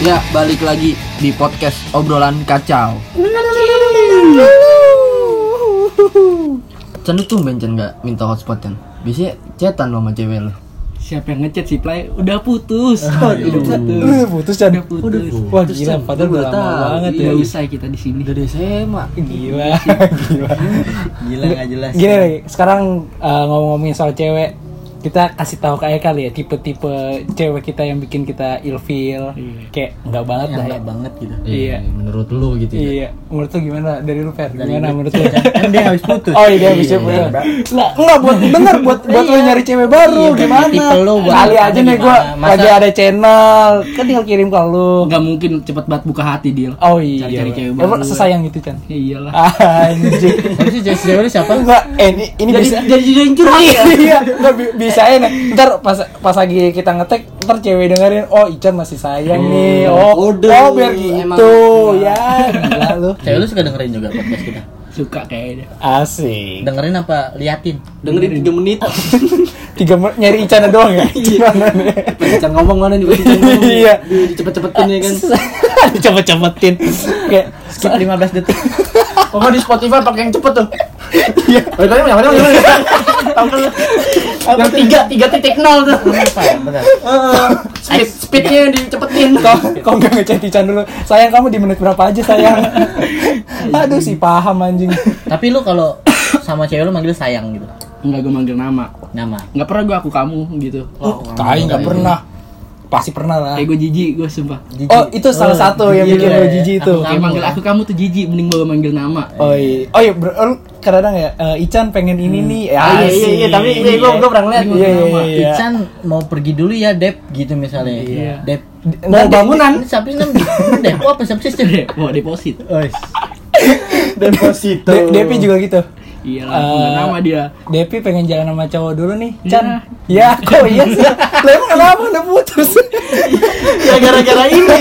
Ya, balik lagi di podcast obrolan kacau. Cen tuh bencen nggak minta hotspot Cen? Biasanya cetan lo sama cewek lo. Siapa yang ngechat si Play? Udah putus. Udah putus. Udah putus dan Udah putus. Wah gila, padahal udah lama banget ya. Udah Iya, usai kita di sini. Udah SMA. Gila, gila. Gila nggak jelas. Gini nih, sekarang eh, ngomong-ngomongin soal cewek, kita kasih tahu kayak kali ya tipe-tipe cewek kita yang bikin kita ilfeel, kayak nggak banget Yang lah ya. nggak banget gitu. Iya. menurut lu gitu ya. Iya, menurut lu gimana? Dari lu Fer, gimana menurut lu? Kan dia habis putus. Oh iya, bisa punya. Lah, enggak buat bener buat buat lu nyari cewek baru berarti gimana? tipe lu buat Kali apa aja nih gimana? gua Masa- lagi ada channel, kan tinggal kirim ke lu. Enggak mungkin cepet banget buka hati dia. Oh iya. Cari-cari cewek baru. Emang sesayang itu, Chan. Ya iyalah. Ah, Anjing. Tapi sih cewek siapa? Enggak, eh, ini, ini bisa jadi jadi yang curhat ya. Iya, enggak bi- bisa ya. Nek. Ntar pas pas lagi kita ngetek, ntar cewek dengerin, "Oh, Ican masih sayang nih." Oh, Udah, oh biar emang. gitu. Ya, gila lu. Cewek lu suka dengerin juga podcast kita. Suka kayaknya. Asik. Dengerin apa liatin? Dengerin 3 menit. Tiga men- nyari Ican doang ya. Gimana nih? Cen ngomong mana nih? Cen ngomong. Iya. Di- Dicepet-cepetin ya kan. Cepet-cepetin. Kayak Skip 15 detik. Oh, di Spotify pakai yang cepet tuh. iya. Oh, tadi yang mana? Yang mana? Yang tiga, tiga titik nol tuh. Apa ya? Benar. Speed, speednya dicepetin. Kau kau "Oh, nggak ngechat Ican dulu. Sayang kamu di menit berapa aja, sayang. Aduh, si paham anjing. Tapi lu kalau sama cewek lu manggil sayang gitu. Enggak gue manggil nama. Nama. Enggak pernah gue aku kamu gitu. Oh, Tai nggak pernah. Pasti pernah lah. Kayak gue jijik gue sumpah. Jijik. Oh, itu salah satu yang jijik bikin lah lo ya. jijik itu. Aku Kayak kamu manggil lah. aku kamu tuh jijik mending bawa manggil nama. Oh iya, oh iya, bro, lu kadang ya eh, Ican pengen ini nih. Ya, Ah, iya, sih. gua gua pernah Iya, iya, iya, iya. Ican mau pergi dulu ya Dep gitu misalnya. Iya. Dep. Mau bangunan Ini Siapa sih nam? Dep apa siapa sih? Eh, Bawa deposit. Deposito. De- Depi juga gitu. Iyalah, Iya manggil Eh, nama dia. Depi pengen jalan sama cowok dulu nih, Chan. Iya. Ya, kok iya sih. Lah emang kenapa udah putus? Ya gara-gara ini.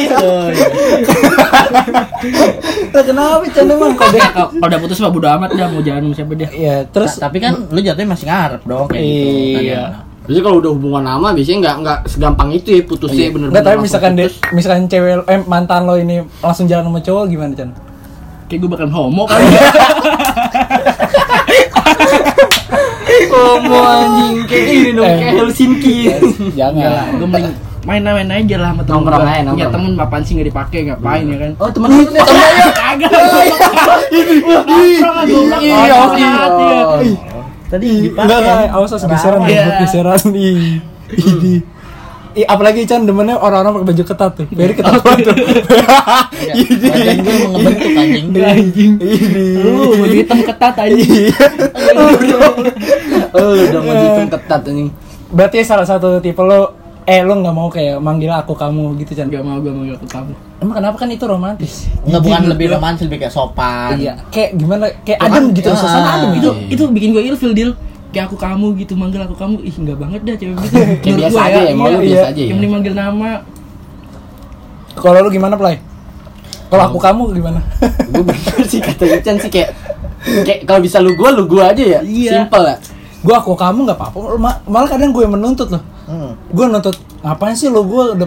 Lah kenapa Chan emang kok Ya, kalau kalau udah putus mah bodo amat dah mau jalan sama siapa dia. Ya, terus Tapi kan lu jatuhnya masih ngarep dong kayak gitu. Iya. Biasanya kalau udah hubungan lama biasanya nggak nggak segampang itu ya Iya. putusnya bener-bener. Enggak, tapi langsung misalkan putus. de, misalkan cewek eh, mantan lo ini langsung jalan sama cowok gimana, Chan? Kayak gue bakal homo kali. Komo anjing kayak ini dong Eh. kayak Helsinki. Enggak lah, Jangan. gue mending main-main aja lah sama temen Nongkrong gua. aja, Punya nongkrong. temen apaan sih nggak dipakai ngapain ya kan? Oh temen lu nih temen lu. Kagak. Nongkrong, goblok. Iya, Nongkrong iya. hati ya. Tadi dipakai. Enggak, enggak, awas awas geseran, Iya. rambut geseran nih. Ini. Ih, apalagi Chan demennya orang-orang pakai baju ketat tuh. Very ketat banget tuh. Iya. Badan gue emang ngebentuk anjing. Anjing. Lu baju hitam ketat aja. Oh udah mau dihitung Eh. ketat anjing. Berarti salah satu tipe lo eh lo nggak mau kayak manggil aku kamu gitu Chan. Gak mau gue manggil ke kamu. Emang kenapa kan itu romantis? Enggak bukan lebih romantis lebih kayak sopan. Iya, kayak gimana? Kayak adem Romantis. gitu, suasana adem Itu gitu. itu bikin gue ilfil deal. Kayak aku kamu gitu manggil aku kamu ih nggak banget dah cewek gitu. Kayak Menurut biasa gua aja ya, mau iya. lu iya. biasa aja Yang ya. mending manggil nama. Kalau lu gimana, Play? Kalau aku kamu gimana? Gue bener sih kata Ican sih kayak kayak kalau bisa lu gua lu gua aja ya. Iya. Simpel ya. gue aku kamu nggak apa-apa Ma- malah kadang gue menuntut loh Hmm. gue nuntut ngapain sih lo gue udah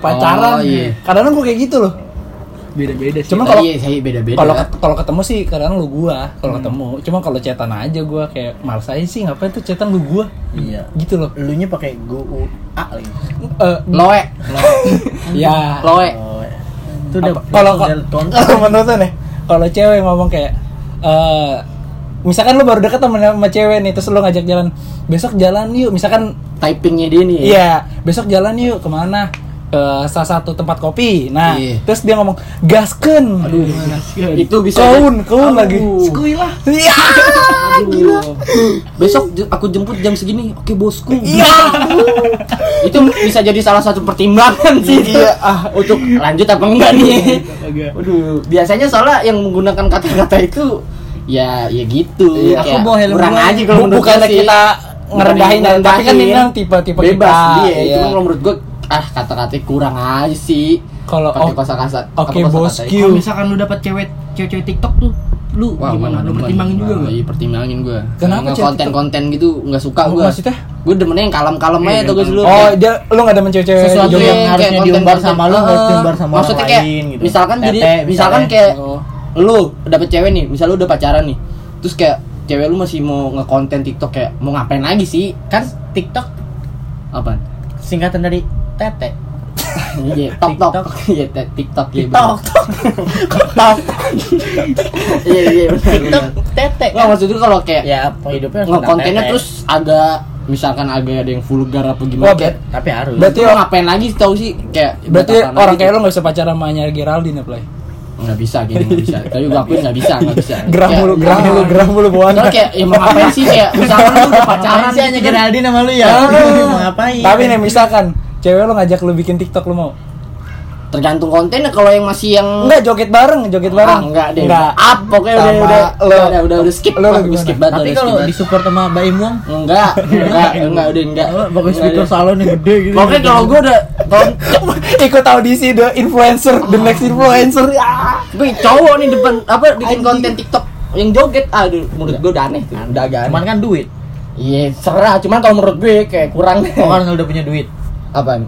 Oh, pacaran iya. kadang gue kayak gitu loh Beda-beda sih. Iya, Cuma- Tadi kalau- ya, saya beda-beda. kalau ket- kalau ketemu sih kadang lu gue Hmm. kalau ketemu cuma kalau cetan aja gue kayak males aja sih ngapain tuh cetan lu gue Iya. gitu loh Elunya pakai gua A lagi. Eh, loe, ya loe. Oh. Itu udah Apa- kalau udah tonton. kalau menurut nih kalau cewek ngomong kayak eh misalkan lu baru deket sama, sama cewek nih terus lu ngajak jalan besok jalan yuk misalkan Typingnya dia nih. ya. Iya, besok jalan yuk kemana? Ke salah satu tempat kopi. Nah, Iya. terus dia ngomong gasken. Aduh, kasihan. Itu bisa aja. Keun, keun lagi. Skuy lah. Iya. Besok ju- aku jemput jam segini. Oke, bosku. iya. Itu bisa jadi salah satu pertimbangan sih. Iya, ah untuk lanjut apa enggak nih. Iya. Agak. Waduh, biasanya soalnya yang menggunakan kata-kata itu ya ya gitu. Iya, aku Kayak bawa helm kurang gua. aja kalau Bu- menurut bukannya gua sih. kita ngerendahin dan tapi kan ini Ngerendahin. kan tipe-tipe bebas kita. dia. Iya. Cuma kalau menurut gua ah kata-katanya kurang aja sih. Kalau pakai oh, kosa kata. oke bosku. Kalau misalkan lu dapat cewek cewek-cewek TikTok tuh lu Iya. Wah, gimana gimana? Lu pertimbangin juga nggak? nggak? Iya, pertimbangin gue. Kenapa, Cet? konten-konten gitu nggak suka Apa gue. maksudnya? Gue demennya yang kalem-kalem aja tuh gue dulu. Oh, dia lu enggak ada cewek-cewek Sesuatu jomblo? yang harusnya kayak diumbar konten-konten. sama lu, Eh, harus diumbar sama orang maksudnya kayak, lain gitu. Misalkan jadi, Tete, misalkan misalnya. kayak Oh. lu dapet cewek nih, misal lu udah pacaran nih, terus kayak cewek lu masih mau ngekonten TikTok kayak mau ngapain lagi sih? Kan TikTok Apa? singkatan dari tete. Iya, TikTok, TikTok. iya te- TikTok, iya Tok tok. Tok. bener. iya iya benar. TikTok tete. Nggak maksud gue kalau kayak Ya, hidupnya harus ngekontennya tete. terus agak misalkan agak ada yang vulgar apa Wah, gimana? bet. tapi harus. Bet. Berarti lo ngapain lagi tau sih kayak Berarti orang gitu. kayak lu enggak bisa pacaran sama Anya Geraldine ya, Play. nggak bisa gini nggak bisa tapi gue akuin nggak bisa nggak bisa Gerah Kayak- iya. mulu, gerah mulu, gerah mulu bawaan. Ya. Soalnya kayak ya mau ngapain sih kayak misalkan lu udah pacaran gitu kan? Pacaran sih hanya Geraldine sama lu ya. Ah. Mau ngapain? Ah. Tapi nih misalkan cewek lu ngajak lu bikin TikTok lu mau? tergantung kontennya kalau yang masih yang Enggak joget bareng, joget bareng. Hmm. Ah, enggak deh Enggak. up pokoknya udah Sama udah lo. udah udah, udah skip Lo Ah, gimana? gua skip banget Tapi udah skip kalau banget. disupport sama Mbak Im Wong, enggak enggak enggak udah enggak Lu bagus Enggak, speaker udah. salon yang gede gitu. Iya, pokoknya kalau gue udah kalau- Ikut audisi the influencer, the next influencer. Ah. gue cowok nih depan apa bikin konten tiktok yang joget aduh menurut gue udah aneh tuh, udah agak Cuman aneh kan duit. iya serah cuman kalau menurut gue kayak kurang deh. Oh, kan lu udah punya duit. apa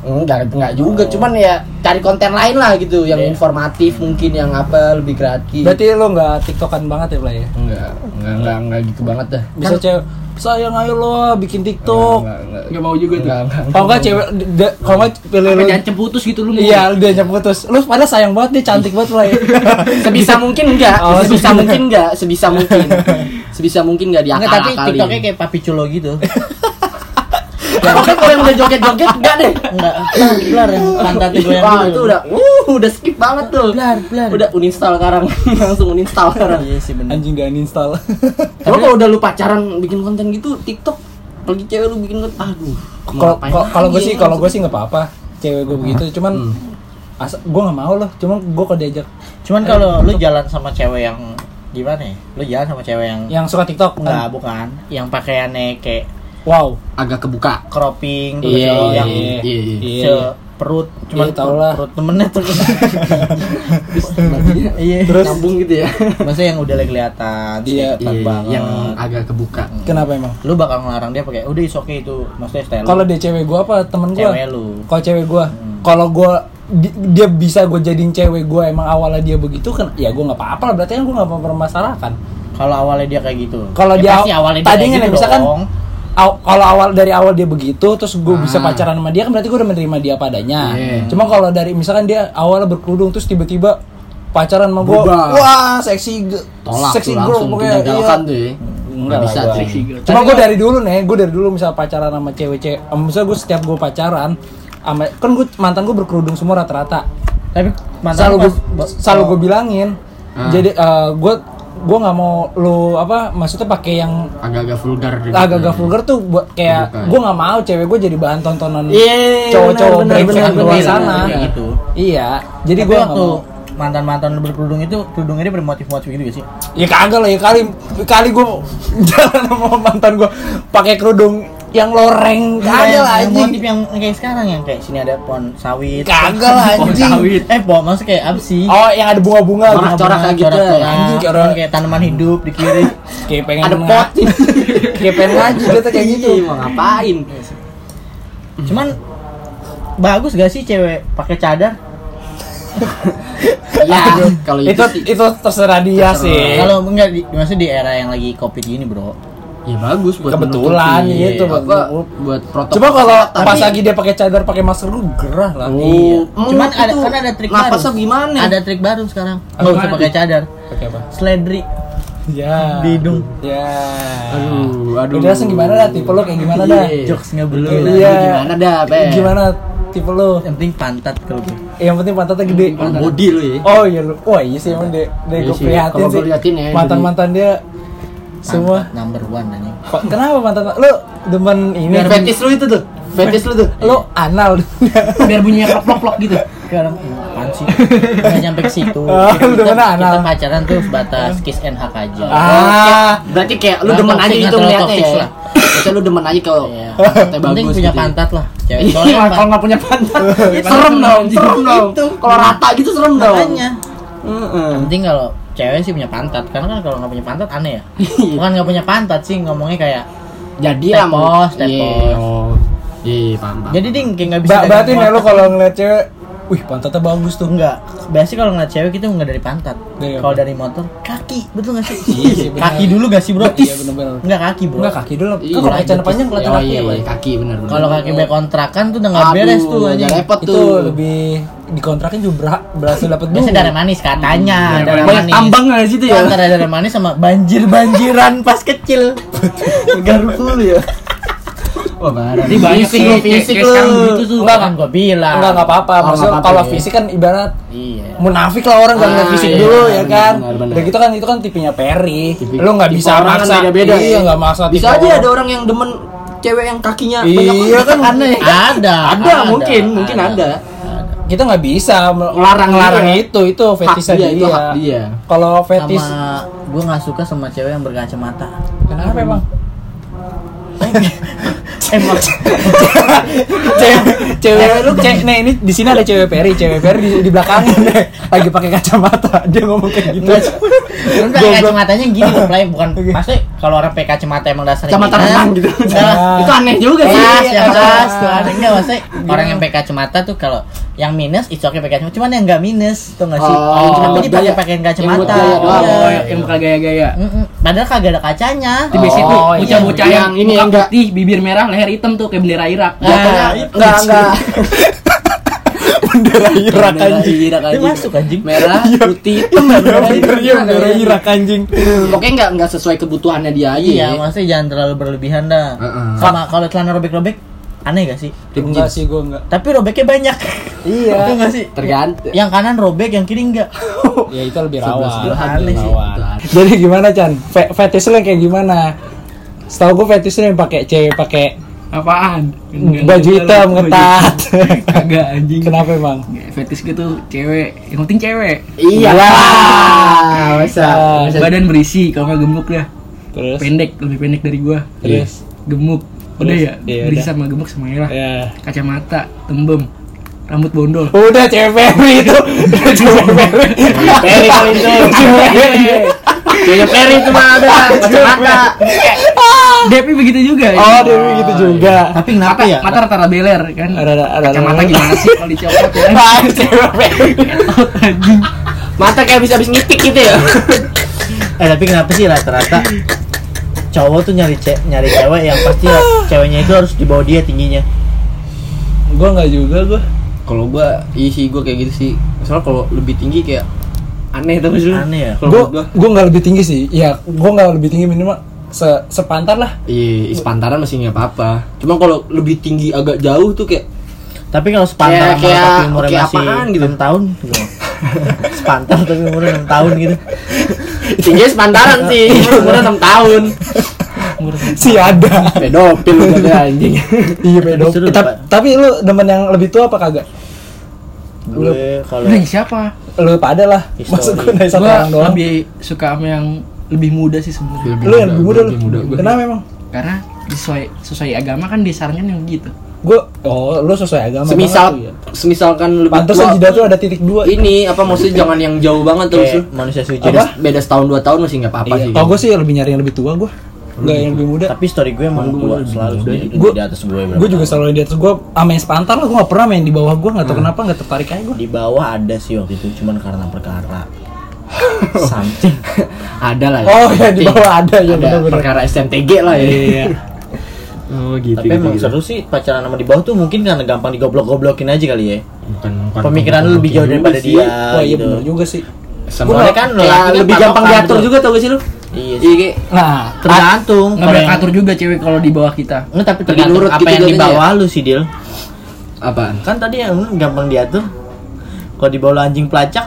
enggak enggak juga Oh. cuman ya cari konten lain lah gitu yang Iya. informatif Hmm. mungkin yang apa lebih kreatif Berarti lu enggak TikTokan banget ya, Play ya? enggak enggak enggak enggak gitu banget dah Bisa cewek sayang ayo lo bikin TikTok. enggak Nggak mau juga tuh. enggak, enggak, enggak. Kalau enggak cewek d- d- kalau enggak pilih Sampai lu. jangan ceputus gitu lu. Iya, lu diajak putus. Lu pada sayang banget dia cantik banget, Play. sebisa mungkin enggak Oh, sebisa mungkin enggak sebisa mungkin sebisa mungkin enggak diakal Enggak, tapi TikToknya kayak papi culo gitu. pokoknya kalau yang udah joget-joget enggak deh Enggak, blar, blar yang ya, pantat gue yang gitu. Wah, itu udah uh udah skip banget tuh Blar, blar. udah uninstall sekarang langsung uninstall sekarang Iya sih benar. Anjing gak uninstall. Coba kalau udah lu pacaran bikin konten gitu TikTok lagi cewek lu bikin konten aduh Kalau ngapain kalau- kalau gue lagi Hmm. sih ya? kalau gue sih nggak apa-apa. Cewek gue begitu, cuman Hmm. asa gue nggak mau loh. Cuman gue kalau diajak Cuman kalau lu jalan sama cewek yang gimana ya? Lu jalan sama cewek yang yang suka TikTok, enggak kan? bukan, yang pakaiannya kayak Wow. agak kebuka cropping terus Iya, yang iya, iya, iya. Iya, se iya. perut cuman Iya, tau lah. perut temennya tuh Iya. Terus Nyambung gitu ya. maksudnya yang udah kelihatan Iya, kelihatan banget Yang agak kebuka. kenapa emang? lu bakal ngelarang dia pakai udah is okay itu maksudnya style Kalau dia cewek gue apa temen gue? Cewek lu. Hmm. Kalau cewek gue, kalau gue di- dia bisa gue jadiin cewek gue emang awalnya dia begitu kan ya gue nggak apa-apa lah berarti kan gue nggak mempermasalahkan kalau awalnya dia kayak gitu kalau Ya, dia pasti awalnya dia tadinya kayak nih gitu misalkan dong. aw- kalau awal dari awal dia begitu terus gue bisa Ah. Hmm. pacaran sama dia kan berarti gue udah menerima dia padanya Iya. cuma kalau dari misalkan dia awalnya berkerudung terus tiba-tiba pacaran sama gue Berubah. wah seksi ge- Tolak tuh seksi girl langsung pokoknya iya. menjagalkan tuh ya. Enggak Nggak bisa lah, gua. tricky girl. Cuma gue dari dulu nih, gue dari dulu misal pacaran sama cewek-cewek, em, misalnya gue setiap gue pacaran, sama kan gue mantan gue berkerudung semua rata-rata. tapi mantan Selalu gue pas- Oh. selalu gue bilangin. Jadi gue gue nggak mau lu apa maksudnya pakai yang Agak-agak vulgar gitu. agak-agak vulgar tuh buat Bukan. kayak gue nggak mau cewek gue jadi bahan tontonan Iya, cowok-cowok benar, brengsek benar, di luar benar, sana. benar, kayak gitu. Iya, jadi jadi gue nggak waktu mau. mantan-mantan lu berkerudung itu kerudungnya dia bermotif-motif gitu gak sih Ya kagak lah ya kali kali gue jalan sama mantan gue pakai kerudung yang Iya, loreng kagak Yang- lah yang anjing. motif yang kayak sekarang yang kayak sini ada pohon sawit Kagak lah Pohon anjing. sawit. eh pohon maksudnya kayak apa sih Oh, yang ada bunga-bunga Orang gitu. corak kayak gitu. corak-corak, Anjing, corak. yang kayak tanaman hidup di kiri Kayak pengen Ada nga- pot. Kayak pengen ngaji dia tuh kayak gitu. Iya, mau ngapain? cuman bagus gak sih cewek pakai cadar Ya, kalau itu Itu sih itu terserah dia sih. kalau enggak di, maksudnya di era yang lagi covid gini bro ya bagus buat Kebetulan, menutupi gitu, buat apa menutup. buat protokol. Coba kalau kesehatan. pas lagi dia pakai cadar, pakai masker lu gerah lah. Iya. Oh, Iya. cuman hmm, ada itu kan ada trik baru Napasnya gimana? ada trik baru sekarang nggak usah Apaan pakai tuh? cadar Pakai apa? seledri Ya. Di hidung. Ya. Aduh, aduh. Udah langsung gimana dah tipe lu kayak gimana dah? Iya. jokesnya Belum. belum Iya. Gimana dah, Pe? Gimana tipe lu? yang penting pantat kalau gitu. gue Yang penting pantatnya gede. Orang body lu ya. Oh iya lu. Wah, iya sih emang deh. Deh Iya gue sih, prihatin kalau sih. gua liatin ya, Mantan-mantan dia semua Pantat number one anjing Kok- Kenapa mantan lu demen ini? Ini fetis lu itu tuh. Fetis lu tuh. Ah. Lu anal. Biar bunyinya plok-plok gitu. Oh, sekarang apaan sih nggak nyampe ke situ Ah, lu kita, demen anal. kita pacaran tuh sebatas kiss and hug aja ah. Berarti kayak lu Nah, demen aja toxic gitu atau ngeliatnya toxic ya. lah. Berarti lu demen aja kalau Iya. pantatnya penting punya gitu ya. pantat lah cewek Iya, Gitu. soalnya kalau nggak punya pantat serem dong, serem dong. Kalau rata gitu serem dong. makanya Heeh. penting kalau cewek sih punya pantat karena kan kalau nggak punya pantat aneh ya bukan nggak punya pantat sih ngomongnya kayak Jadi lah mau. tepos tepos Oh. Iya, paham. paham. jadi ding kayak nggak bisa Ba dari berarti pantat. Nelo kalau ngeliat cewek, wih pantatnya bagus tuh. enggak biasanya kalau ngeliat cewek kita nggak dari pantat Dari apa? kalau dari motor kaki betul nggak sih Iya sih, benar. kaki dulu gak sih bro Betis. Iya, benar-benar. nggak kaki bro Enggak kaki dulu. Iya, Kan kalau celana betis. panjang kelihatan Oh, kaki iya, ya, Bang? iya, kaki bener bener. kalau kaki baik kontrakan tuh udah nggak beres tuh aja Udah repot Itu tuh. lebih dikontrakin juga ber- berhasil dapat biasanya bunga. darah manis katanya darah Iya, Banyak manis tambang dari situ ya. antara darah manis sama banjir banjiran pas kecil Garuk dulu ya. Wah, barang. Jadi banyak Fisik lu, kayak- fisik kayak lu. sekarang gitu tuh. Enggak, kan enggak, gue bilang enggak enggak apa-apa. Oh, Maksudnya enggak apa-apa, kalau iya. fisik kan ibarat iya munafik lah orang gak Ah, ngeliat fisik iya, dulu ya benar, kan benar, benar. udah gitu kan itu kan tipenya Perry Tipe- lu nggak tipe bisa orang kan maksa beda-beda iya ya. nggak maksa Bisa tipe aja orang. ada orang yang demen cewek yang kakinya Iya banyak kan. aneh. Nah, ada Nah, Ada, mungkin, mungkin ada. kita nggak bisa Ngelarang-larang. Iya, itu itu fetishnya dia, dia, itu hak dia. kalau fetish sama gue nggak suka sama cewek yang berkacamata kenapa emang emang cewek cewek lu cewek nih ini di sini ada cewek Perry cewek Perry di, di belakangnya nih, lagi pakai kacamata dia ngomong kayak gitu Cuman pakai kacamatanya gini loh, Play. bukan maksudnya kalau orang pakai kacamata emang dasarnya Iya. Kacamata gini. renang gitu. Nah, Itu aneh juga sih. kelas Iya. ya kelas tuh ada enggak maksudnya Iya. orang yang pakai kacamata tuh kalau yang minus itu oke pakai kacamata cuman yang enggak minus tuh enggak sih Oh, yang cuma yang buat ini pakai gaya. pakaian Yang buat kacamata gaya doang. Iya. Oh, yang bukan gaya-gaya. Mm-mm. padahal kagak ada kacanya Itu biasanya tuh Oh, iya. bocah-bocah yang Yang ini ini yang enggak- putih, bibir merah, leher hitam tuh kayak bendera Irak. Jatuhnya Ya, enggak enggak. bendera Irak anjing Irak Dia masuk anjing Merah, putih, hitam. bener iya bendera Irak anjing Pokoknya enggak enggak sesuai kebutuhannya dia aja. ya. iya maksudnya jangan terlalu berlebihan dah Heeh. sama kalau celana robek-robek aneh gak sih enggak sih gue enggak tapi robeknya banyak Iya. Betul nggak sih Ya. Tergantung. yang kanan robek yang kiri enggak ya itu lebih rawan Sebelah-sebelahan Aneh sih. Rawan. Jadi gimana Chan? Fe- fetish lu yang kayak gimana? Setahu gue fetish lu yang pakai cewek pakai Apaan? Enggak, baju enggak, hitam baju- ketat. Kagak anjing. Kenapa emang? Ya, Fetish gue tuh cewek, yang penting cewek. Iya. Wah, Masa. Ah, Badan berisi, kalau nggak gemuk ya. Terus Pendek, lebih pendek dari gua. terus Gemuk. Udah Terus? ya, Iya, berisi udah. sama gemuk sama merah. ya. Kacamata, tembem, rambut bondol. Udah cewek Ferry itu. Udah cewek Ferry. Peri kali iya. itu. Cewek Ferry. Cewek peri itu mah ada kacamata. Depi begitu juga ya. Ah! Oh, dia begitu juga. tapi mata, kenapa ya mata rata-rata beler kan. Ada ada ada. Kacamata gimana sih kalau dicopot ya? Ah, cewek Ferry. Anjing. Mata kayak habis-habis ngitik gitu ya. Eh tapi kenapa sih rata-rata cowok tuh nyari ce nyari cewek yang pasti lah, Ah. ceweknya itu harus di bawah dia tingginya. Gua enggak juga gua. Kalau gua iya sih gua kayak gitu sih. Soalnya kalau lebih tinggi kayak aneh tuh sih. Aneh ya? Kalau Gua menurut gua. gua enggak lebih tinggi sih. Ya, gua enggak lebih tinggi minimal se sepantar lah. Iya, sepantaran masih nggak apa-apa. Cuma kalau lebih tinggi agak jauh tuh kayak Tapi kalau sepantar Iya, Kayak- sama orang kayak- tapi umurnya kayak masih apaan gitu. 6 tahun gimana? sepantar tapi umurnya 6 tahun gitu. tinggi sepantaran sih. Umurnya 6 tahun. Si ada. Pedofil udah ada anjing. Iya beda. Seru, Eh, tapi, Pak. tapi lu demen yang lebih tua apa kagak? Lu- Gue kalau Nah, siapa? Lu pada lah. History. Maksud gue dari satu Gua orang doang. lebih suka sama yang lebih muda sih sebenarnya. Lu yang lebih muda lu. gua. Kenapa emang? Karena sesuai sesuai agama kan disarankan yang gitu. Gue oh lu sesuai agama. Semisal banget lu semisalkan ya. lebih pantesan tua. jidat lu ada titik dua. Ini apa maksudnya jangan yang jauh banget terus. kayak lu. manusia suci. Beda, beda setahun dua tahun masih nggak apa-apa Iya. sih. Kalau gue sih lebih nyari yang lebih tua gue. Gak yang lebih muda. Tapi story gue emang Emang gue tua lebih selalu muda. dia- Gue- dia di atas gue berapa Gue juga tahun. selalu di atas gue. Sama yang sepantar lah gue gak pernah main di bawah gue. Gak tau kenapa gak tertarik aja gue. di bawah ada sih waktu itu cuman karena perkara something ada lah. Oh, ya, di bawah ada, ya, iya, Ada benar-benar. Iya, perkara SMTG lah ya. Oh gitu. tapi emang seru sih pacaran sama di bawah tuh mungkin karena gampang digoblok-goblokin aja kali ya pemikiran lu lebih jauh daripada dia Wah iya gitu. bener juga sih. Sebenarnya kan Kayak lebih gampang diatur juga tau gak sih lu? Iya sih. Iya kayak Nah, tergantung Nggak kalau boleh yang- atur juga cewek kalau di bawah kita. Nggak, tapi tergantung nurut apa gitu yang di jadinya bawah lu sih Dil apaan? kan tadi yang lu gampang diatur kalau di bawah lu anjing pelacak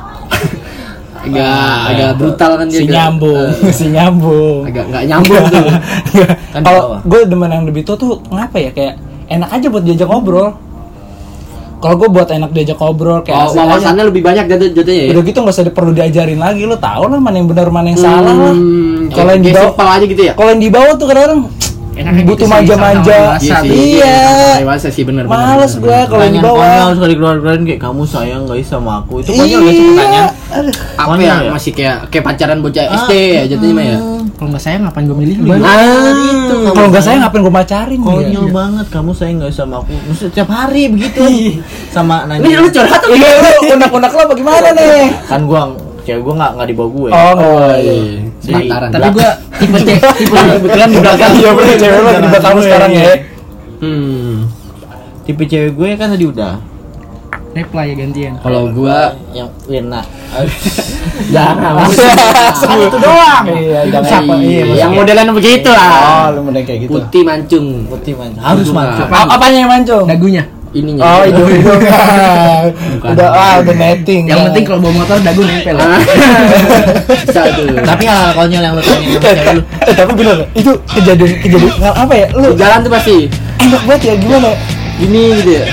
Agak agak brutal kan dia. si agak- nyambung, si nyambung. Iya. eh, agak nggak nyambung tuh. Kan di kalau bawah. gue demen yang lebih tua tuh ngapa ya kayak enak aja buat diajak ngobrol kalau gue buat enak diajak ngobrol Waw- kayak asik aja. Wawasannya lebih banyak jatuh jatuhnya ya. udah gitu nggak usah di- perlu diajarin lagi lo tau lah mana yang benar mana yang salah lah Hmm, kalau yang di kayak bawah simpel aja gitu ya. kalau yang di bawah tuh kadang Enaknya gitu Butuh sih, manja-manja. sama-sama dewasa. Iya sih. Dewasa sih bener bener, Males bener, gue bener. kalau yang konyol dibawa. suka dikeluarin kayak kamu sayang guys sama aku itu konyol gak sih Iya. pertanyaan Aduh. Apa Konyol Ah. ya ya? masih kayak kayak pacaran bocah Ah. SD ya jatuhnya mah ya. Kalau nggak sayang ngapain gue milih lu? Bener. itu Kalau nggak saya ngapain gue pacarin ya? Nah, gitu. Hmm. konyol banget kamu sayang gak sama aku Maksudnya tiap hari begitu sama nanya Ini lu curhat atau Iya lu unak-unak lo bagaimana nih? kan gua cewek gua nggak nggak di bawah gue Oh, iya. Jadi- Sepantaran. Tapi gue tipe cewek, tipe Kan kebetulan di belakang dia punya Iya, cewek lo di belakang lu sekarang ya. Hmm. tipe cewek gue kan tadi udah reply ya gantian. Kalau gua yang Wirna jangan. itu doang Iya, jangan Siapa? siapa? Iya, yang maksudnya. modelan begitu Oh, lah. lu mulai kayak gitu. Putih mancung. putih man harus Putih mancung banget. Apa apanya yang mancung? Dagunya. Ininya. Oh, itu itu. Udah ah, udah netting. Yang penting kalau bawa motor dagu nempel. Ah. Bisa tuh. tapi hal konyol yang lu tanya sama cewek lu Eh, tapi bener itu kejadian kejadian nggak apa ya? Di Lu jalan tuh pasti enak banget ya gimana? gini gitu ya.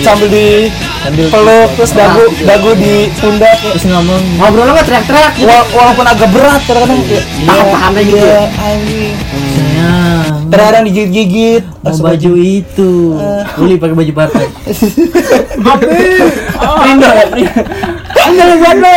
Sambil di Sambil peluk terus dagu dagu di pundak ya. terus ngomong Ngobrol nggak teriak-teriak gitu. Wa- walaupun agak berat kadang-kadang Iya, kayak Tahan-tahan aja gitu ya. ya, anjing. sayang Terkadang digigit-gigit mau baju itu Uli pakai baju partai Oh. Rindo ya. Anjing lu buat lu.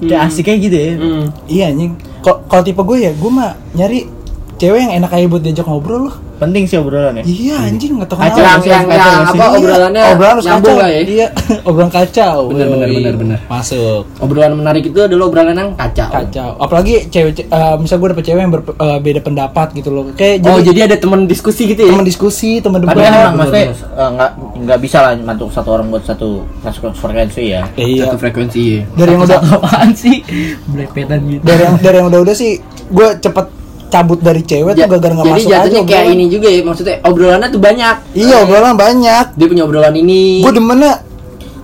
kayak asik kayak gitu ya Hmm. Iya anjing. Ko- Kalau tipe gue ya, gue mah nyari cewek yang enak aja buat diajak ngobrol loh. penting sih obrolan ya Iya anjing nggak tahu Kacau yang yang, yang apa Iya, obrolannya obrolan harus nyambung kacau. lah ya. Iya, obrolan kacau. Bener, bener, Woi. bener, bener. Masuk. Obrolan menarik itu adalah obrolan yang kacau. Kacau. Apalagi cewek ce- eh, misal gue dapet cewek yang berpe- eh, beda pendapat gitu loh. Kayak Oh, jadi ada teman diskusi gitu ya. teman diskusi, teman debat. tapi kan emang Bener, maksudnya bener. eh, nggak nggak bisa lah mantuk satu orang buat satu satu frekuensi ya Iya. Satu frekuensi ya. Dari yang udah Apaan sih? Belepetan gitu. dari yang dari yang udah-udah sih gue cepet cabut dari cewek tuh Ja- gara-gara nggak jadi masuk aja. jatuhnya kayak obrolan. ini juga ya maksudnya obrolannya tuh banyak Iya, obrolan banyak. dia punya obrolan ini Gue demennya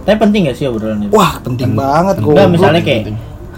tapi penting gak sih obrolan itu Wah penting banget gue. Nah, nggak misalnya kayak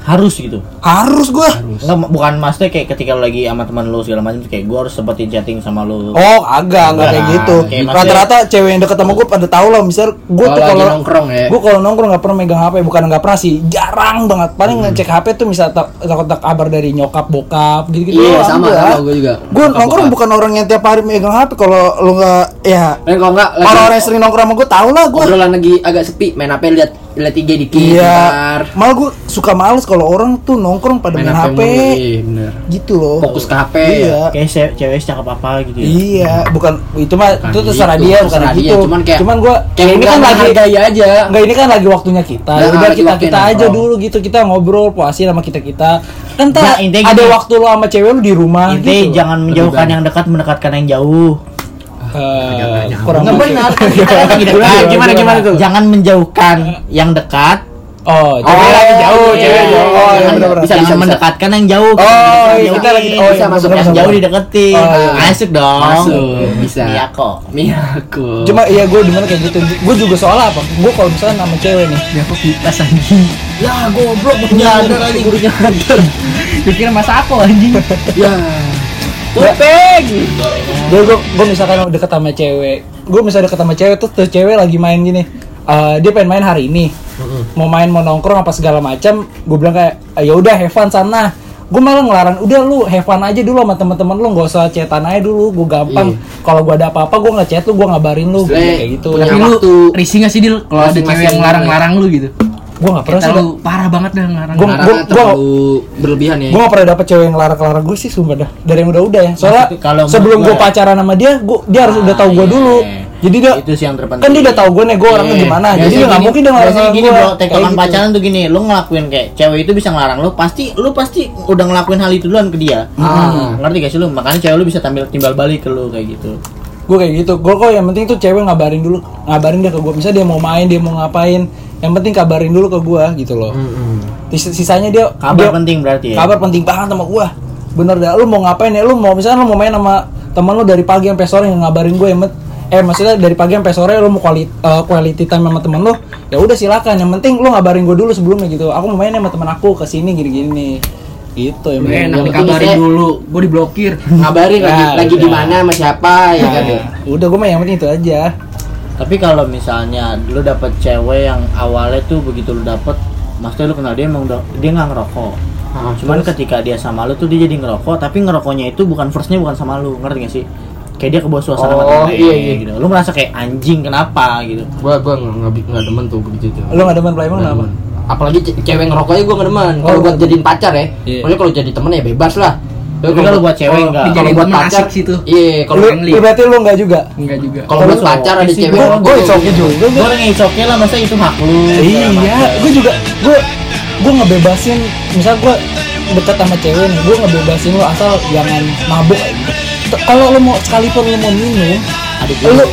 harus gitu harus gue. Enggak, bukan maksudnya kayak ketika lu lagi sama teman lu segala macam kayak gua harus sempetin chatting sama lu. Oh agak nggak kayak Nah, gitu. kayak maksudnya- Rata-rata cewek yang deket sama gue pada tau lah. Misal gue Kalau tuh lagi kalau nongkrong ya. Gue kalau nongkrong nggak pernah megang HP, bukan nggak pernah sih, jarang banget. Paling Hmm. ngecek HP tuh misal tak- takut tak kabar dari nyokap, bokap, gitu-gitu. iya doang sama gua. sama gue juga Gue nongkrong bukan orang yang tiap hari megang HP. Kalau lu nggak, ya Eh, kalau enggak lagi orang-orang yang sering nongkrong sama gue tau lah gue. obrolan lagi agak sepi main apa lihat lihat IG dikit Iya. bentar. Malah gue suka males kalau orang tuh nongkrong pada main main, apa HP, mulu, iya, bener gitu loh. fokus ke ya? HP Iya. Kayak ce- cewek cakep apa gitu ya. Iya, bukan itu mah Bukan itu terserah gitu, dia bukan terserah gitu. dia, cuman kayak- gua kayak ini kan lagi gaya aja enggak ini kan lagi waktunya kita. Nah, Ya udah lagi kita waktunya kita aja nongkrong. dulu gitu kita ngobrol puasin sama kita kita. Kan tak Nah, intinya ada gini. waktu lo sama cewek lu di rumah Intinya gitu. jangan menjauhkan yang dekat mendekatkan yang jauh. Eh, kurang Nggak benar. Lagi gitu Gimana, dekat. gimana, gimana tuh? Jangan menjauhkan yang dekat. Oh, cewek lagi jauh, iya. cewek jauh. Oh, iya, jangan, bener, benar-benar. bisa, jangan bisa. mendekatkan yang jauh. Oh, Jangan iya, kita lagi jauhin. oh, iya, Bisa masuk, bener-bener. yang jauh dideketin. Oh, iya. Masuk dong. masuk bisa Iya kok. Iya, aku Cuma iya gue dimana kayak gitu. Gue juga soal apa? Gue kalau misalnya sama cewek nih, Ya kok kipas anjing. ya goblok punya ada lagi gurunya ada Dikira mas apa anjing? ya Jadi gue gue misalkan deket sama cewek, gue misalnya deket sama cewek tuh terus cewek lagi main gini, Eh dia pengen main hari ini, mau main mau nongkrong apa segala macam, gue bilang kayak "Ah, ya udah have fun sana, gue malah ngelarang, udah lu have fun aja dulu sama teman-teman lu nggak usah chatan aja dulu, gue gampang, Iya. kalau gue ada apa-apa gue nggak chat lu, gue ngabarin lu, Maksudnya kayak gitu, punya- Tapi gue lu waktu- risih gak sih Dil kalau ada cewek yang Masing-masing. larang-larang lu gitu? nggak pernah Kita sih, lu parah banget dah ngelarang. Gua- Karena gua- terlalu berlebihan ya gue gak pernah dapet cewek yang larang-larang gue sih sumpah dah, dari yang udah-udah ya, soalnya Maksudnya kalau sebelum menurut gue gua- ya. pacaran sama dia, gue dia harus udah tahu gue iya. dulu, jadi dia Itu sih yang terpenting. kan dia udah tahu gue nih gue orangnya gimana jadi dia nggak mungkin dia ngelarang Biasanya Ya, gini gua. bro, Kayak tektokan gitu. pacaran tuh gini, lu ngelakuin kayak cewek itu bisa ngelarang lu, pasti lu pasti udah ngelakuin hal itu duluan ke dia. Hmm. Ah. Ngerti gak sih lu? Makanya cewek lu bisa tampil timbal balik ke lu kayak gitu. gue kayak gitu gue kok yang penting tuh cewek ngabarin dulu ngabarin dia ke gue misalnya dia mau main dia mau ngapain yang penting kabarin dulu ke gue gitu loh Sis- sisanya dia Kabar dia- penting berarti ya. kabar penting banget sama gue bener dah lu mau ngapain ya lu mau misalnya lu mau main sama teman lu dari pagi sampai sore yang ngabarin gue yang eh maksudnya dari pagi sampai sore lu mau quality, quality time sama temen lu ya udah silakan yang penting lu ngabarin gue dulu sebelumnya gitu aku mau main sama temen aku ke sini gini gini nih gitu yang penting. Eh, Yang Enak penting dikabarin saya- dulu, gua diblokir. ngabarin lagi Ya, lagi di udah. mana sama siapa ya kan Iya. ya. Udah gue mah yang penting itu aja. Tapi kalau misalnya lu dapet cewek yang awalnya tuh begitu lu dapet, maksudnya lu kenal dia emang udah- dia nggak ngerokok. Ah, Nah, Cuman ketika dia sama lu tuh dia jadi ngerokok, tapi ngerokoknya itu bukan firstnya bukan sama lu, ngerti gak sih? Kayak dia kebawa suasana Oh, sama temen, iya, iya. gitu. Lu merasa kayak anjing kenapa gitu. gua gua nggak nggak- nggak demen tuh begitu Lu nggak demen playman Nggak kenapa? demen. apalagi ce- cewek ngerokoknya gua nggak demen kalau Oh. buat jadiin pacar ya Iya. maksudnya kalau jadi temen ya bebas lah Tapi Tapi kalau buat cewek nggak. kalau Dijadiin buat temen pacar asik sih tuh. iya Lu, kalau Friendly. lu berarti lu nggak juga? Enggak juga. kalau Kalau buat pacar ada cowok sih, cewek Gue gue ngerokok, ya. isoki juga. Gue Iya, gua. ngeisoknya lah, masa itu hak lu. Iya, gue juga gue gue ngebebasin. Misal gue deket sama cewek nih, gue ngebebasin lo asal jangan mabuk. T- Kalau lo mau sekalipun lo mau minum, lo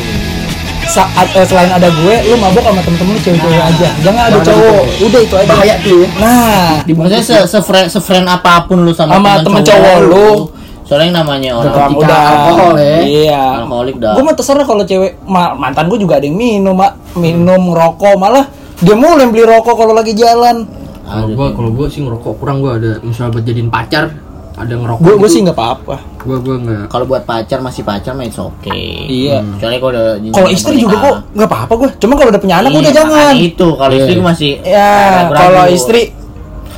saat eh, selain ada gue, lo mabuk sama temen-temen lo cewek-cewek aja. Jangan ada cowok. Udah itu aja. bahaya tuh ya Nah, Maksudnya se sefriend sefriend apapun lu sama, Sama temen cowok lu. Soalnya yang namanya orang Tetap ketika udah alkohol ya. Iya. Alkoholik dah. Gue mah terserah kalau cewek ma- mantan gue juga ada yang minum, mak. Minum, rokok malah dia mulai beli rokok kalau lagi jalan. kalau gua kalau gua sih ngerokok kurang gua ada misalnya buat jadiin pacar ada ngerokok Gue gue gitu, sih nggak apa-apa. gua gua nggak kalau buat pacar masih pacar mah it's okay. Hmm. Iya. Soalnya kalau udah jenjang Kalau istri juga kok pernikahan. nggak apa-apa gue. Cuma kalau udah punya anak Iya, udah jangan. makanya Itu kalau istri masih Ya, ragu-ragu. kalau istri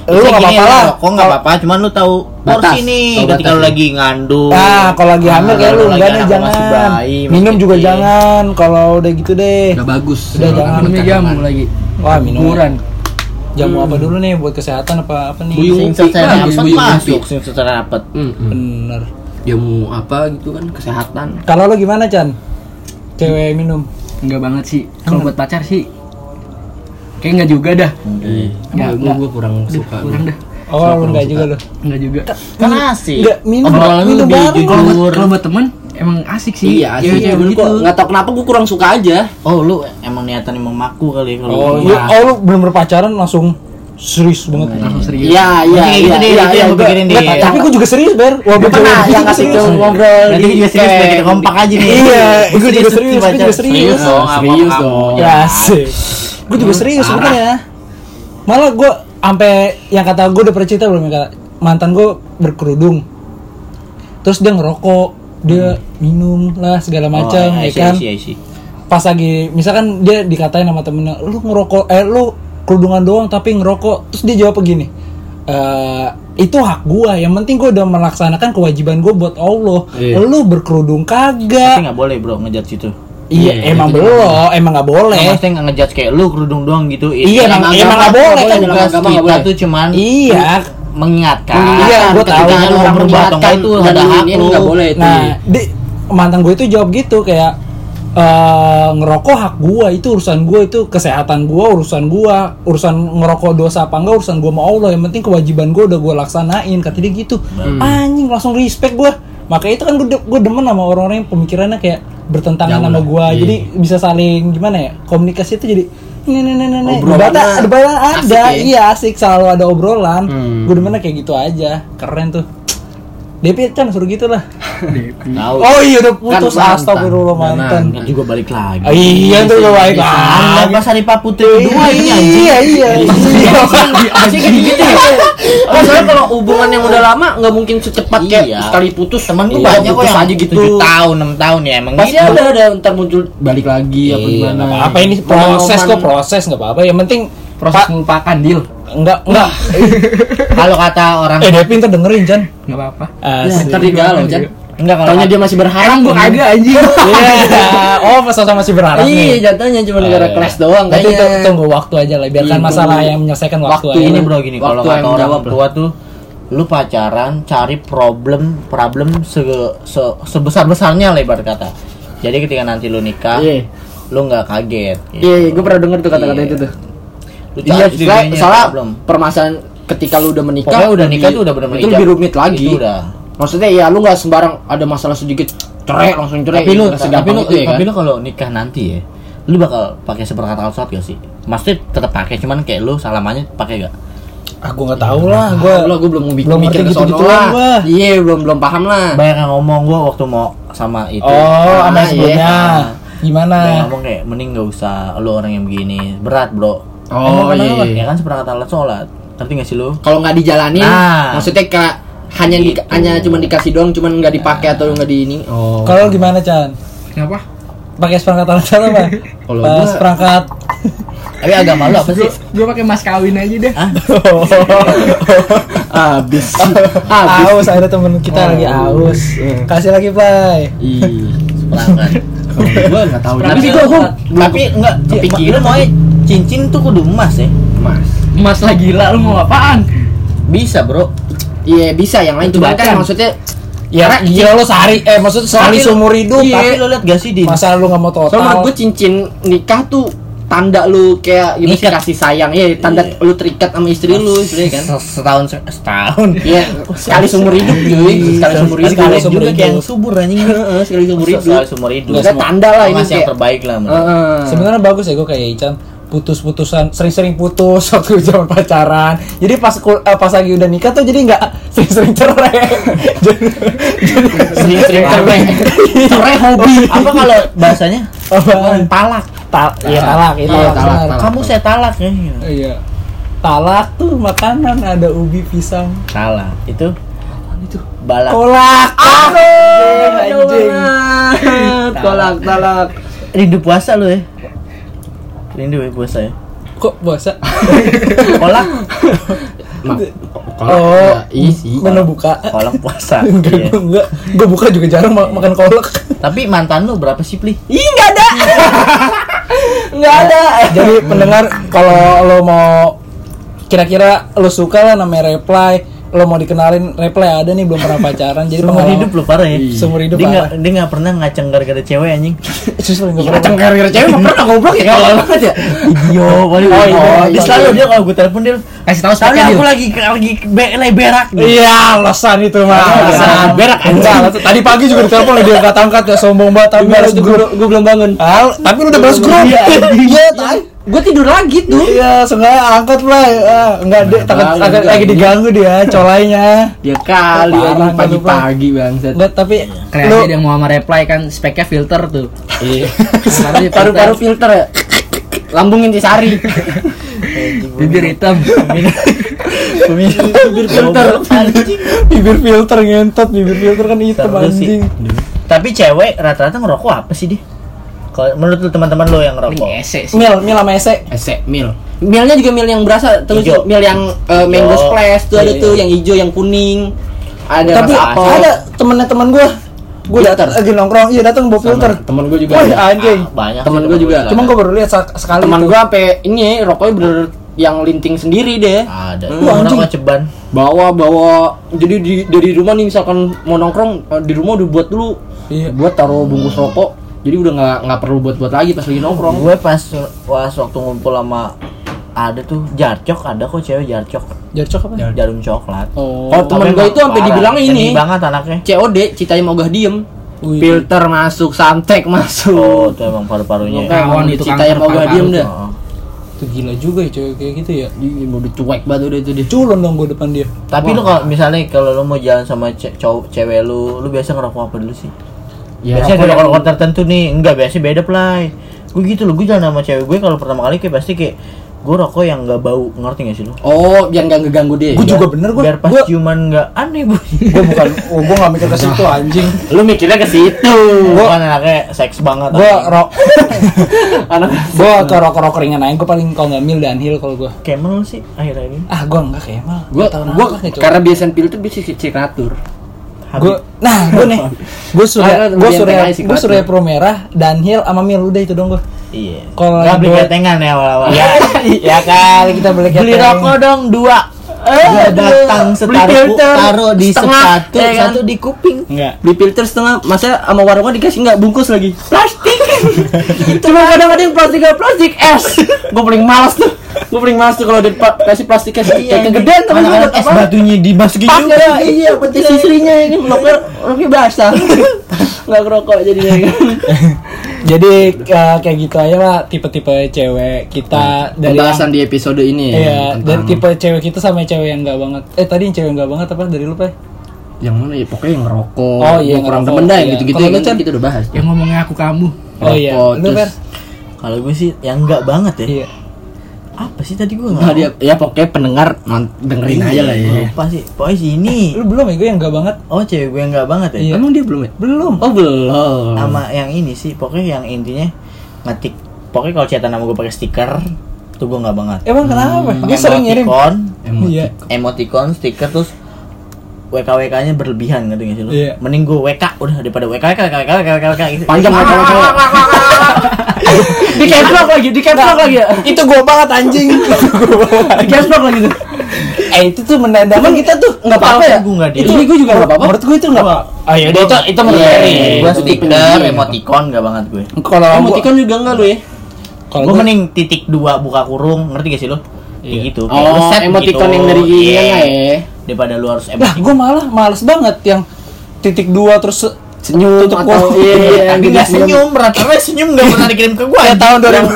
lu Istri nggak gini, ya, apa-apa lah. Kok nggak apa-apa, cuman lu tahu porsi Batas. nih. Tahu Ketika batas lu nih. lagi ngandung. Ah, Nah, kalau lagi hamil kayak Kalau lu lagi enggak nih anak jangan. masih bayi, masih minum juga kecil. Iya, jangan kalau udah gitu deh. nggak bagus Udah, jangan. Minumnya jamu lagi. Wah, minum. Kuburan. Jamu apa Hmm. dulu nih buat kesehatan apa apa nih? Buyung. Sing secara Bagus, apet buyung masuk, mimpi. sing secara apet. Mm-mm. Bener. dia mau apa gitu kan kesehatan Kalau lo gimana, Chan? Cewek minum. Enggak banget sih. Kalau buat pacar sih kayak enggak juga dah. Gua- Nggak, gua nggak. gua Iya, kurang suka Kurang dah. Oh, lu enggak juga lu. Enggak juga. Kan asik. Enggak, minum, Obrolan lu minum lebih bareng. Kalau buat, jujur. kalau buat temen emang asik sih. iya sih Cewek-cewek bener begitu. kok nggak tau kenapa gua kurang suka aja Oh, lu emang niatan emang maku kali ya, kalau gitu. Oh, lu- Lu, Nah. oh, lu belum berpacaran langsung serius Nah, banget. Langsung serius. iya iya iya Mungkin itu deh, iya itu iya yang gua gua- pikirin gua deh. tak- Tapi gue juga serius, Ber. Wah, Gue gua pernah juga yang kasih iya, serius. itu ngobrol Berarti di juga serius camp. nih, kita kompak aja nih. Iya, Lu gue juga nih, serius, gue pacar. juga serius. dong, sama Serius kamu. dong. Ya sih. Gue juga serius sebenarnya. Malah gue sampai yang kata gue udah percita belum yang kata mantan gue berkerudung. Terus dia ngerokok, dia minum lah segala macam, Oh, ya I see, kan. I see, I see. Pas lagi, misalkan dia dikatain sama temennya, lu ngerokok, eh lu kerudungan doang tapi ngerokok. Terus dia jawab begini, "Eh, itu hak gua yang penting gua udah melaksanakan kewajiban gua buat Allah Iya. lu berkerudung Tapi kagak nggak boleh bro ngejudge itu. iya Iya, emang itu belum emang nggak boleh Nggak, Maksudnya nggak ngejudge kayak lu kerudung doang gitu. Itu Iya, emang- emang nggak boleh, kan? Tugas Dalam agama nggak kita boleh. tuh cuman Iya. mengingatkan. Iya, gua Ketika tahu. lu mau berbuat atau nggak itu ada hak lu. nggak boleh itu Nah, di, mantan gue itu jawab gitu kayak eh ngerokok hak gua itu urusan gua itu kesehatan gua urusan gua urusan ngerokok dosa apa enggak urusan gua sama Allah yang penting kewajiban gua udah gua laksanain kata dia gitu Hmm. anjing langsung respect gua makanya itu kan gua, de- gua demen sama orang-orang yang pemikirannya kayak bertentangan Jauh sama lah. gua Iya. jadi bisa saling gimana ya komunikasi itu jadi nenek nenek nenek Obrolan lah. ada obrolan ada Asik ya. iya asik selalu ada obrolan Hmm. gua demennya kayak gitu aja keren tuh Depi kan suruh gitu lah Tahu. Oh iya udah putus kan mantan. Nah, kan astagfirullah mantan. Nggak juga balik lagi. Ah, Iya tuh udah baik Anda banget. Mas Arifah Putri dua ini anjing. Iya iya. iya. Pasti kayak gitu ya. Oh, soalnya kalau hubungan yang udah lama nggak mungkin secepat kayak Iya. sekali putus temen Iya, banyak kok yang aja gitu. 7 tahun, 6 tahun ya emang. Pasti gitu. ada ada ntar muncul balik lagi apa Iya, gimana. Apa ini proses kok proses nggak apa-apa yang penting Proses Pak, melupakan deal. enggak enggak. Kalau kata orang Ah. Eh Depi ntar dengerin Chan. Enggak apa-apa. Eh, Asik. Ntar dia galau, Chan. enggak kalau Iya, Taunya dia masih berharap. gitu. Sekarang gua kagak anjing. Iya. Oh sama masih berharap Iya, nih. jatuhnya cuma gara Eh, kelas doang Nanti kayaknya. tu- tunggu waktu aja lah biarkan Iya, masalah tunggu. yang menyelesaikan waktu, waktu aja. ini bro gini Iya, kalau Waktu kata yang orang menjawab tua tuh lu pacaran cari problem problem se, sebesar besarnya lebar kata jadi ketika nanti lu nikah Iya. lu nggak kaget gitu. Iya, gue pernah denger tuh kata-kata Iya. itu tuh. lu cari Iya, sendirinya salah problem. permasalahan ketika lu udah menikah. Pokoknya udah nikah lebih- tuh udah benar-benar Itu lebih rumit lagi. Itu udah. Maksudnya ya lu nggak sembarang ada masalah sedikit cerai langsung cerai. tapi lu Nggak tapi segampang lu itu ya kan? tapi lu kalau nikah nanti ya lu bakal pakai seperkata al gak sih maksudnya tetap pakai cuman kayak lu salamannya pakai gak Aku nggak tahu lah Ah, gua. Lah gue Ah, belum mikir Belum mikir ke ngerti sono gitu-gituan lah. gua. Iya, belum belum paham lah. banyak yang ngomong gua waktu mau sama itu Oh, Ah, sama iya. yang sebelumnya. Gimana? Dia ngomong kayak mending nggak usah lu orang yang begini berat bro Oh, Emang iya. kenapa? iya. ya kan seperangkat alat sholat ngerti gak sih lu Kalau nggak dijalani, Nah. maksudnya kayak hanya di- Gitu. hanya cuma dikasih doang, cuma nggak dipakai atau nggak di ini. Oh. Kalau gimana Chan? Kenapa? Pakai seperangkat alat apa? Kalau Pas gua- perangkat Tapi agama lu apa sih? Gue pakai mas kawin aja deh. Abis. Abis. Aus ada temen kita lagi aus. Kasih lagi play. Ih. Pelanggan. Kalau gua enggak tahu. Tapi Tapi gua- gua gua Tapi enggak, Kepikiran. lu mau cincin tuh kudu emas ya? Mas. Mas lah gila lu mau apaan? Bisa bro. Iya, bisa yang lain cuma Jebakan. kan maksudnya Ya iya, gila lo sehari eh maksud sekali Tapi- seumur hidup Tapi tapi lu lihat gak sih di Iya. masa lu nggak mau total. Soalnya menurut gue cincin nikah tuh tanda lu kayak gimana sih Ngikat. kasih sayang ya tanda lu terikat sama istri lu sebenarnya kan. Se- setahun se- setahun Iya, sekali seumur hidup cuy, sekali seumur hidup. Sekali Sekali juga hidup. kayak yang subur anjing Heeh, sekali seumur hidup. Sekali seumur hidup Maksudnya tanda lah ini Mas yang kayak. terbaik lah menurut gua. Heeh. Sebenarnya bagus ya gue kayak Ican putus-putusan sering-sering putus waktu zaman pacaran jadi pas kul- eh, pas lagi udah nikah tuh jadi nggak sering-sering cerai jadi, sering-sering cerai. Cerai hobi. Apa kalau bahasanya? apaan? Talak Ta- ya talak itu Iya, talak, benar. talak. Kamu saya talak ya iya talak tuh makanan ada ubi pisang Talak Itu? Itu Balak Ah, kolak Aduh, anjing Tolak, tolak. Rindu puasa lu ya? Rindu ya puasa ya? kok puasa Kolak Mak, Oh, kolak. Iya sih. menu buka Kolak puasa enggak iya. gua enggak gue buka juga jarang ma- makan kolak Tapi mantan lu berapa sih Pli? Ih, nggak ada. Nggak Ya ada. Jadi pendengar kalau lo mau kira-kira lo suka lah namanya reply, lo mau dikenalin reply ada nih belum pernah pacaran. Jadi Seumur pengalaman- hidup lu parah ya? Oh. Iya. Seumur hidup Dia parah. nggak dia nggak pernah ngaceng gara-gara cewek anjing Justru nggak Gimana pernah. cengker-cengker cewek mah pernah goblok Iya, ya? Kalau banget ya. Yo, paling Oh, iya, oh, iya, dia selalu iya. dia kalau gue telepon dia Kasih tahu Tapi speknya aku lu. lagi lagi be- lagi berak nih. Iya, alasan itu mah. alasan. Berak, anjing. Enggak, alasan. Tadi pagi juga ditelepon dia angkat angkat ya sombong banget tapi balas grup. Gue belum bangun. Al, tapi lu udah balas grup. Iya, anjing. Iya, tai. Gue tidur lagi tuh. Iya, sengaja angkat lah. Ah, Enggak, dia takut Parah, takut enggak, lagi anjing. diganggu dia, colainya. Ya kali Parah, anjing, kali, pagi-pagi bangsat. Enggak, tapi Keren aja dia mau sama reply kan speknya filter tuh. Iya. Filter. Paru-paru filter ya. Lambung intisari. bibir hitam. Iya, bibir filter bibir filter ngentot bibir filter kan hitam Seru anjing sih. Tapi cewek rata-rata ngerokok apa sih dia? Kalau menurut lu teman-teman lu yang Paling ngerokok? ese sih. mil mil sama ese Ese mil. Milnya juga mil yang berasa terus Ijo. mil yang eh, mango Ijo. splash tuh ada Iya. tuh yang hijau yang kuning. Ada tapi rasa apel. ada temennya temen gua gua Filter. datang lagi nongkrong iya datang bawa filter Temen gue juga. wah ada. anjing Ah, banyak. Temen sih gua juga. temen cuma gua baru lihat sa- sekali Teman itu. gue sampai ini rokoknya bener yang linting sendiri deh. Ada. Hmm, Lu anjing. ngerokok ceban. bawa bawa jadi di, dari rumah nih misalkan mau nongkrong eh, di rumah udah buat dulu Iya. buat taruh bungkus rokok jadi udah nggak nggak perlu buat buat lagi pas lagi nongkrong Gue pas pas waktu ngumpul sama ada tuh jarcok ada kok cewek jarcok jarcok apa jarum coklat oh Oh, temen Tapi gua emang itu sampai parah, dibilang ini. sedih banget anaknya COD citanya mau gak diem Wih. filter masuk santek oh masuk tuh emang paru-parunya Bukan, Kawan mau itu cita kanker yang mau gak paru-paru diem Iya. dah itu gila juga ya cewek kayak gitu ya Ih, mau dicuek banget udah itu deh culon dong gua depan dia tapi lu kalau misalnya kalau lu mau jalan sama ce- cow- cewek lu lu biasa ngerokok apa dulu sih ya, rokok biasanya ada yang- kalau tertentu nih enggak biasanya beda play gue gitu loh gue jalan sama cewek gue kalau pertama kali kayak pasti kayak gue rokok yang nggak bau ngerti gak sih lo oh biar nggak ngeganggu dia gua juga bener gua biar pas gua ciuman nggak aneh bu gua bukan oh gua nggak mikir ke situ anjing lu mikirnya ke situ gue kan anaknya seks banget gua anjing. rok anak gua ke rok rok ringan aja gua paling kalau nggak mil dan hill kalau gua kayak mana lu sih akhir akhir ini ah gua kan- nggak kayak mal gua Nggak tahu gua kenapa kayak cowok. karena biasan filter bisa signatur Habib. Gue, nah gue nih, gue surya, Karena gue lebih surya, enteng aja sih gue kelasnya. surya pro merah, Dunhill sama Mil udah itu dong gue. iya Kalau nggak beli gua- ketengan ya awal awal ya Ya kali kita beli beli rokok dong dua Eh, Dua batang setaruh filter. taruh di Setengah, sepatu ya kan? satu di kuping Enggak. beli filter setengah masa sama warungnya dikasih nggak bungkus lagi plastik cuma kadang-kadang plastik plastik es gue paling malas tuh gue paling malas tuh kalau dia pa- kasih plastik es kayak kegedean tapi gue Anak-anak buat es apa batunya dimasukin pas juga ya iya petis istrinya ya kan rokoknya rokoknya basah nggak kerokok jadinya kan Jadi eh, kayak gitu aja lah tipe-tipe cewek kita dari Hmm, pembahasan di episode ini ya, Iya, tentang dari tipe cewek kita sama cewek yang enggak banget. Eh tadi yang cewek enggak banget apa dari lu, Pak? yang mana ya pokoknya yang ngerokok Oh, iya, yang kurang ngerokok, temen dah yang iya. gitu-gitu Kalau ya lu, kan Chan? kita udah bahas Yang ngomongnya aku kamu. Oh iya, Rokok, lu terus- Fer. kalau gue sih yang enggak banget ya Iya. apa sih tadi gue Nah, dia ya pokoknya pendengar non- dengerin aja lah ya Lupa sih. Pokoknya sih ini. Lu belum ya gue yang enggak banget? Oh, cewek gue yang enggak banget ya. Iya. emang dia belum ya Belum. oh belum Sama yang ini sih, pokoknya yang intinya ngetik. Pokoknya kalau chatan nama gue pakai stiker, tuh gue nggak banget Hmm, Emang kenapa? Eh, Dia sering ngirim. Emoticon, Iya. emoticon stiker terus WKWK nya berlebihan ngerti gak sih lu? Iya. Mending gue WK udah daripada WK WK WK WK WK WK gitu. Panjang kalau cewek. Di capslock lagi, di capslock lagi Nah, ya. Itu gue banget anjing. Itu gua banget. Di capslock lagi tuh. eh itu tuh menandakan Cuman kita tuh nggak apa-apa ya? Gua nggak di- Itu gue juga nggak apa-apa. Menurut gue itu nggak apa-apa. Oh ya itu itu menurut Ah, Iya, Ferry. gue Itu stiker, pendidikan. emoticon gak banget gue. Kalau gua- Emoticon juga enggak lu ya? kalau Gue gua- mending titik dua buka kurung, ngerti gak sih lu? Kayak gitu. kayak Oh, reset emoticon gitu. yang dari Iya. iya ya. Daripada lu harus lah emoticon. gue malah males banget yang titik dua terus se- Senyum Tutup atau gua. iya iya, Tapi iya. nggak senyum, rata-rata senyum gak pernah dikirim ke gue. Ya tahun 2000.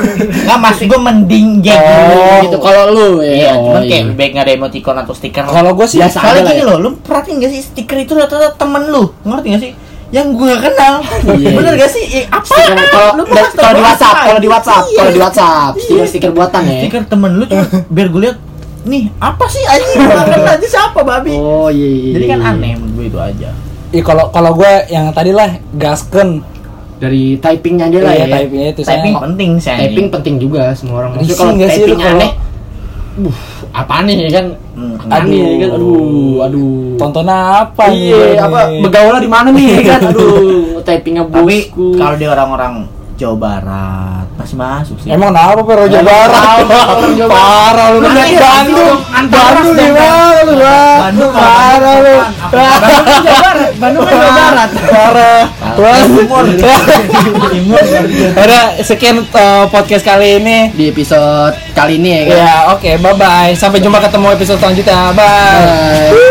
Nggak masih gue mending geng. Oh, gitu kalau lu ya. Iya, Oh, cuman iya. kayak baik nggak ada emoticon atau stiker. kalau gue sih Biasa. Soalnya ada lah gini ya. loh, lu perhatiin gak sih stiker itu rata-rata temen lu, ngerti gak sih? Yang gue gak kenal, Iya. bener gak sih? Eh, apa? Stiker kalau Lu da- bahas kalau di tentang WhatsApp, apa? kalau di WhatsApp, Iya. kalau di WhatsApp, stiker-stiker buatan ya. Stiker temen lu cuma biar gue lihat, nih apa sih anjing gue gak kenal ini siapa babi? Oh iya iya. Jadi kan iya. aneh menurut gue itu aja. ya kalau kalau gue yang tadi lah gasken Dari typingnya aja lah Iya, ya. typingnya itu saya Typing penting sih. anjing. Typing penting juga semua orang. Maksudnya Iya. Risih kalau nggak sih lu typing kalau- aneh, buh, apa nih ya kan? Hmm, Aneh ya kan? Aduh, aduh. tontonan apa nih? Iya, apa begaulnya di mana nih Iya, ya kan? Aduh, typingnya Tapi bosku. kalau dia orang-orang Jawa Barat masih masuk sih. Emang kenapa Pak Iya, Roja Barat? Parah lu lu liat Bandung. Bandung di mana lu? Bang? Bandung Parah lu. Bandung kan Jawa Barat, Bandung kan Jawa Barat. Parah. Timur. Timur. Ada sekian eh, podcast kali ini. di episode kali ini ya kan? Iya. Ya, oke, bye bye. Sampai jumpa ketemu episode selanjutnya. Bye. Bye.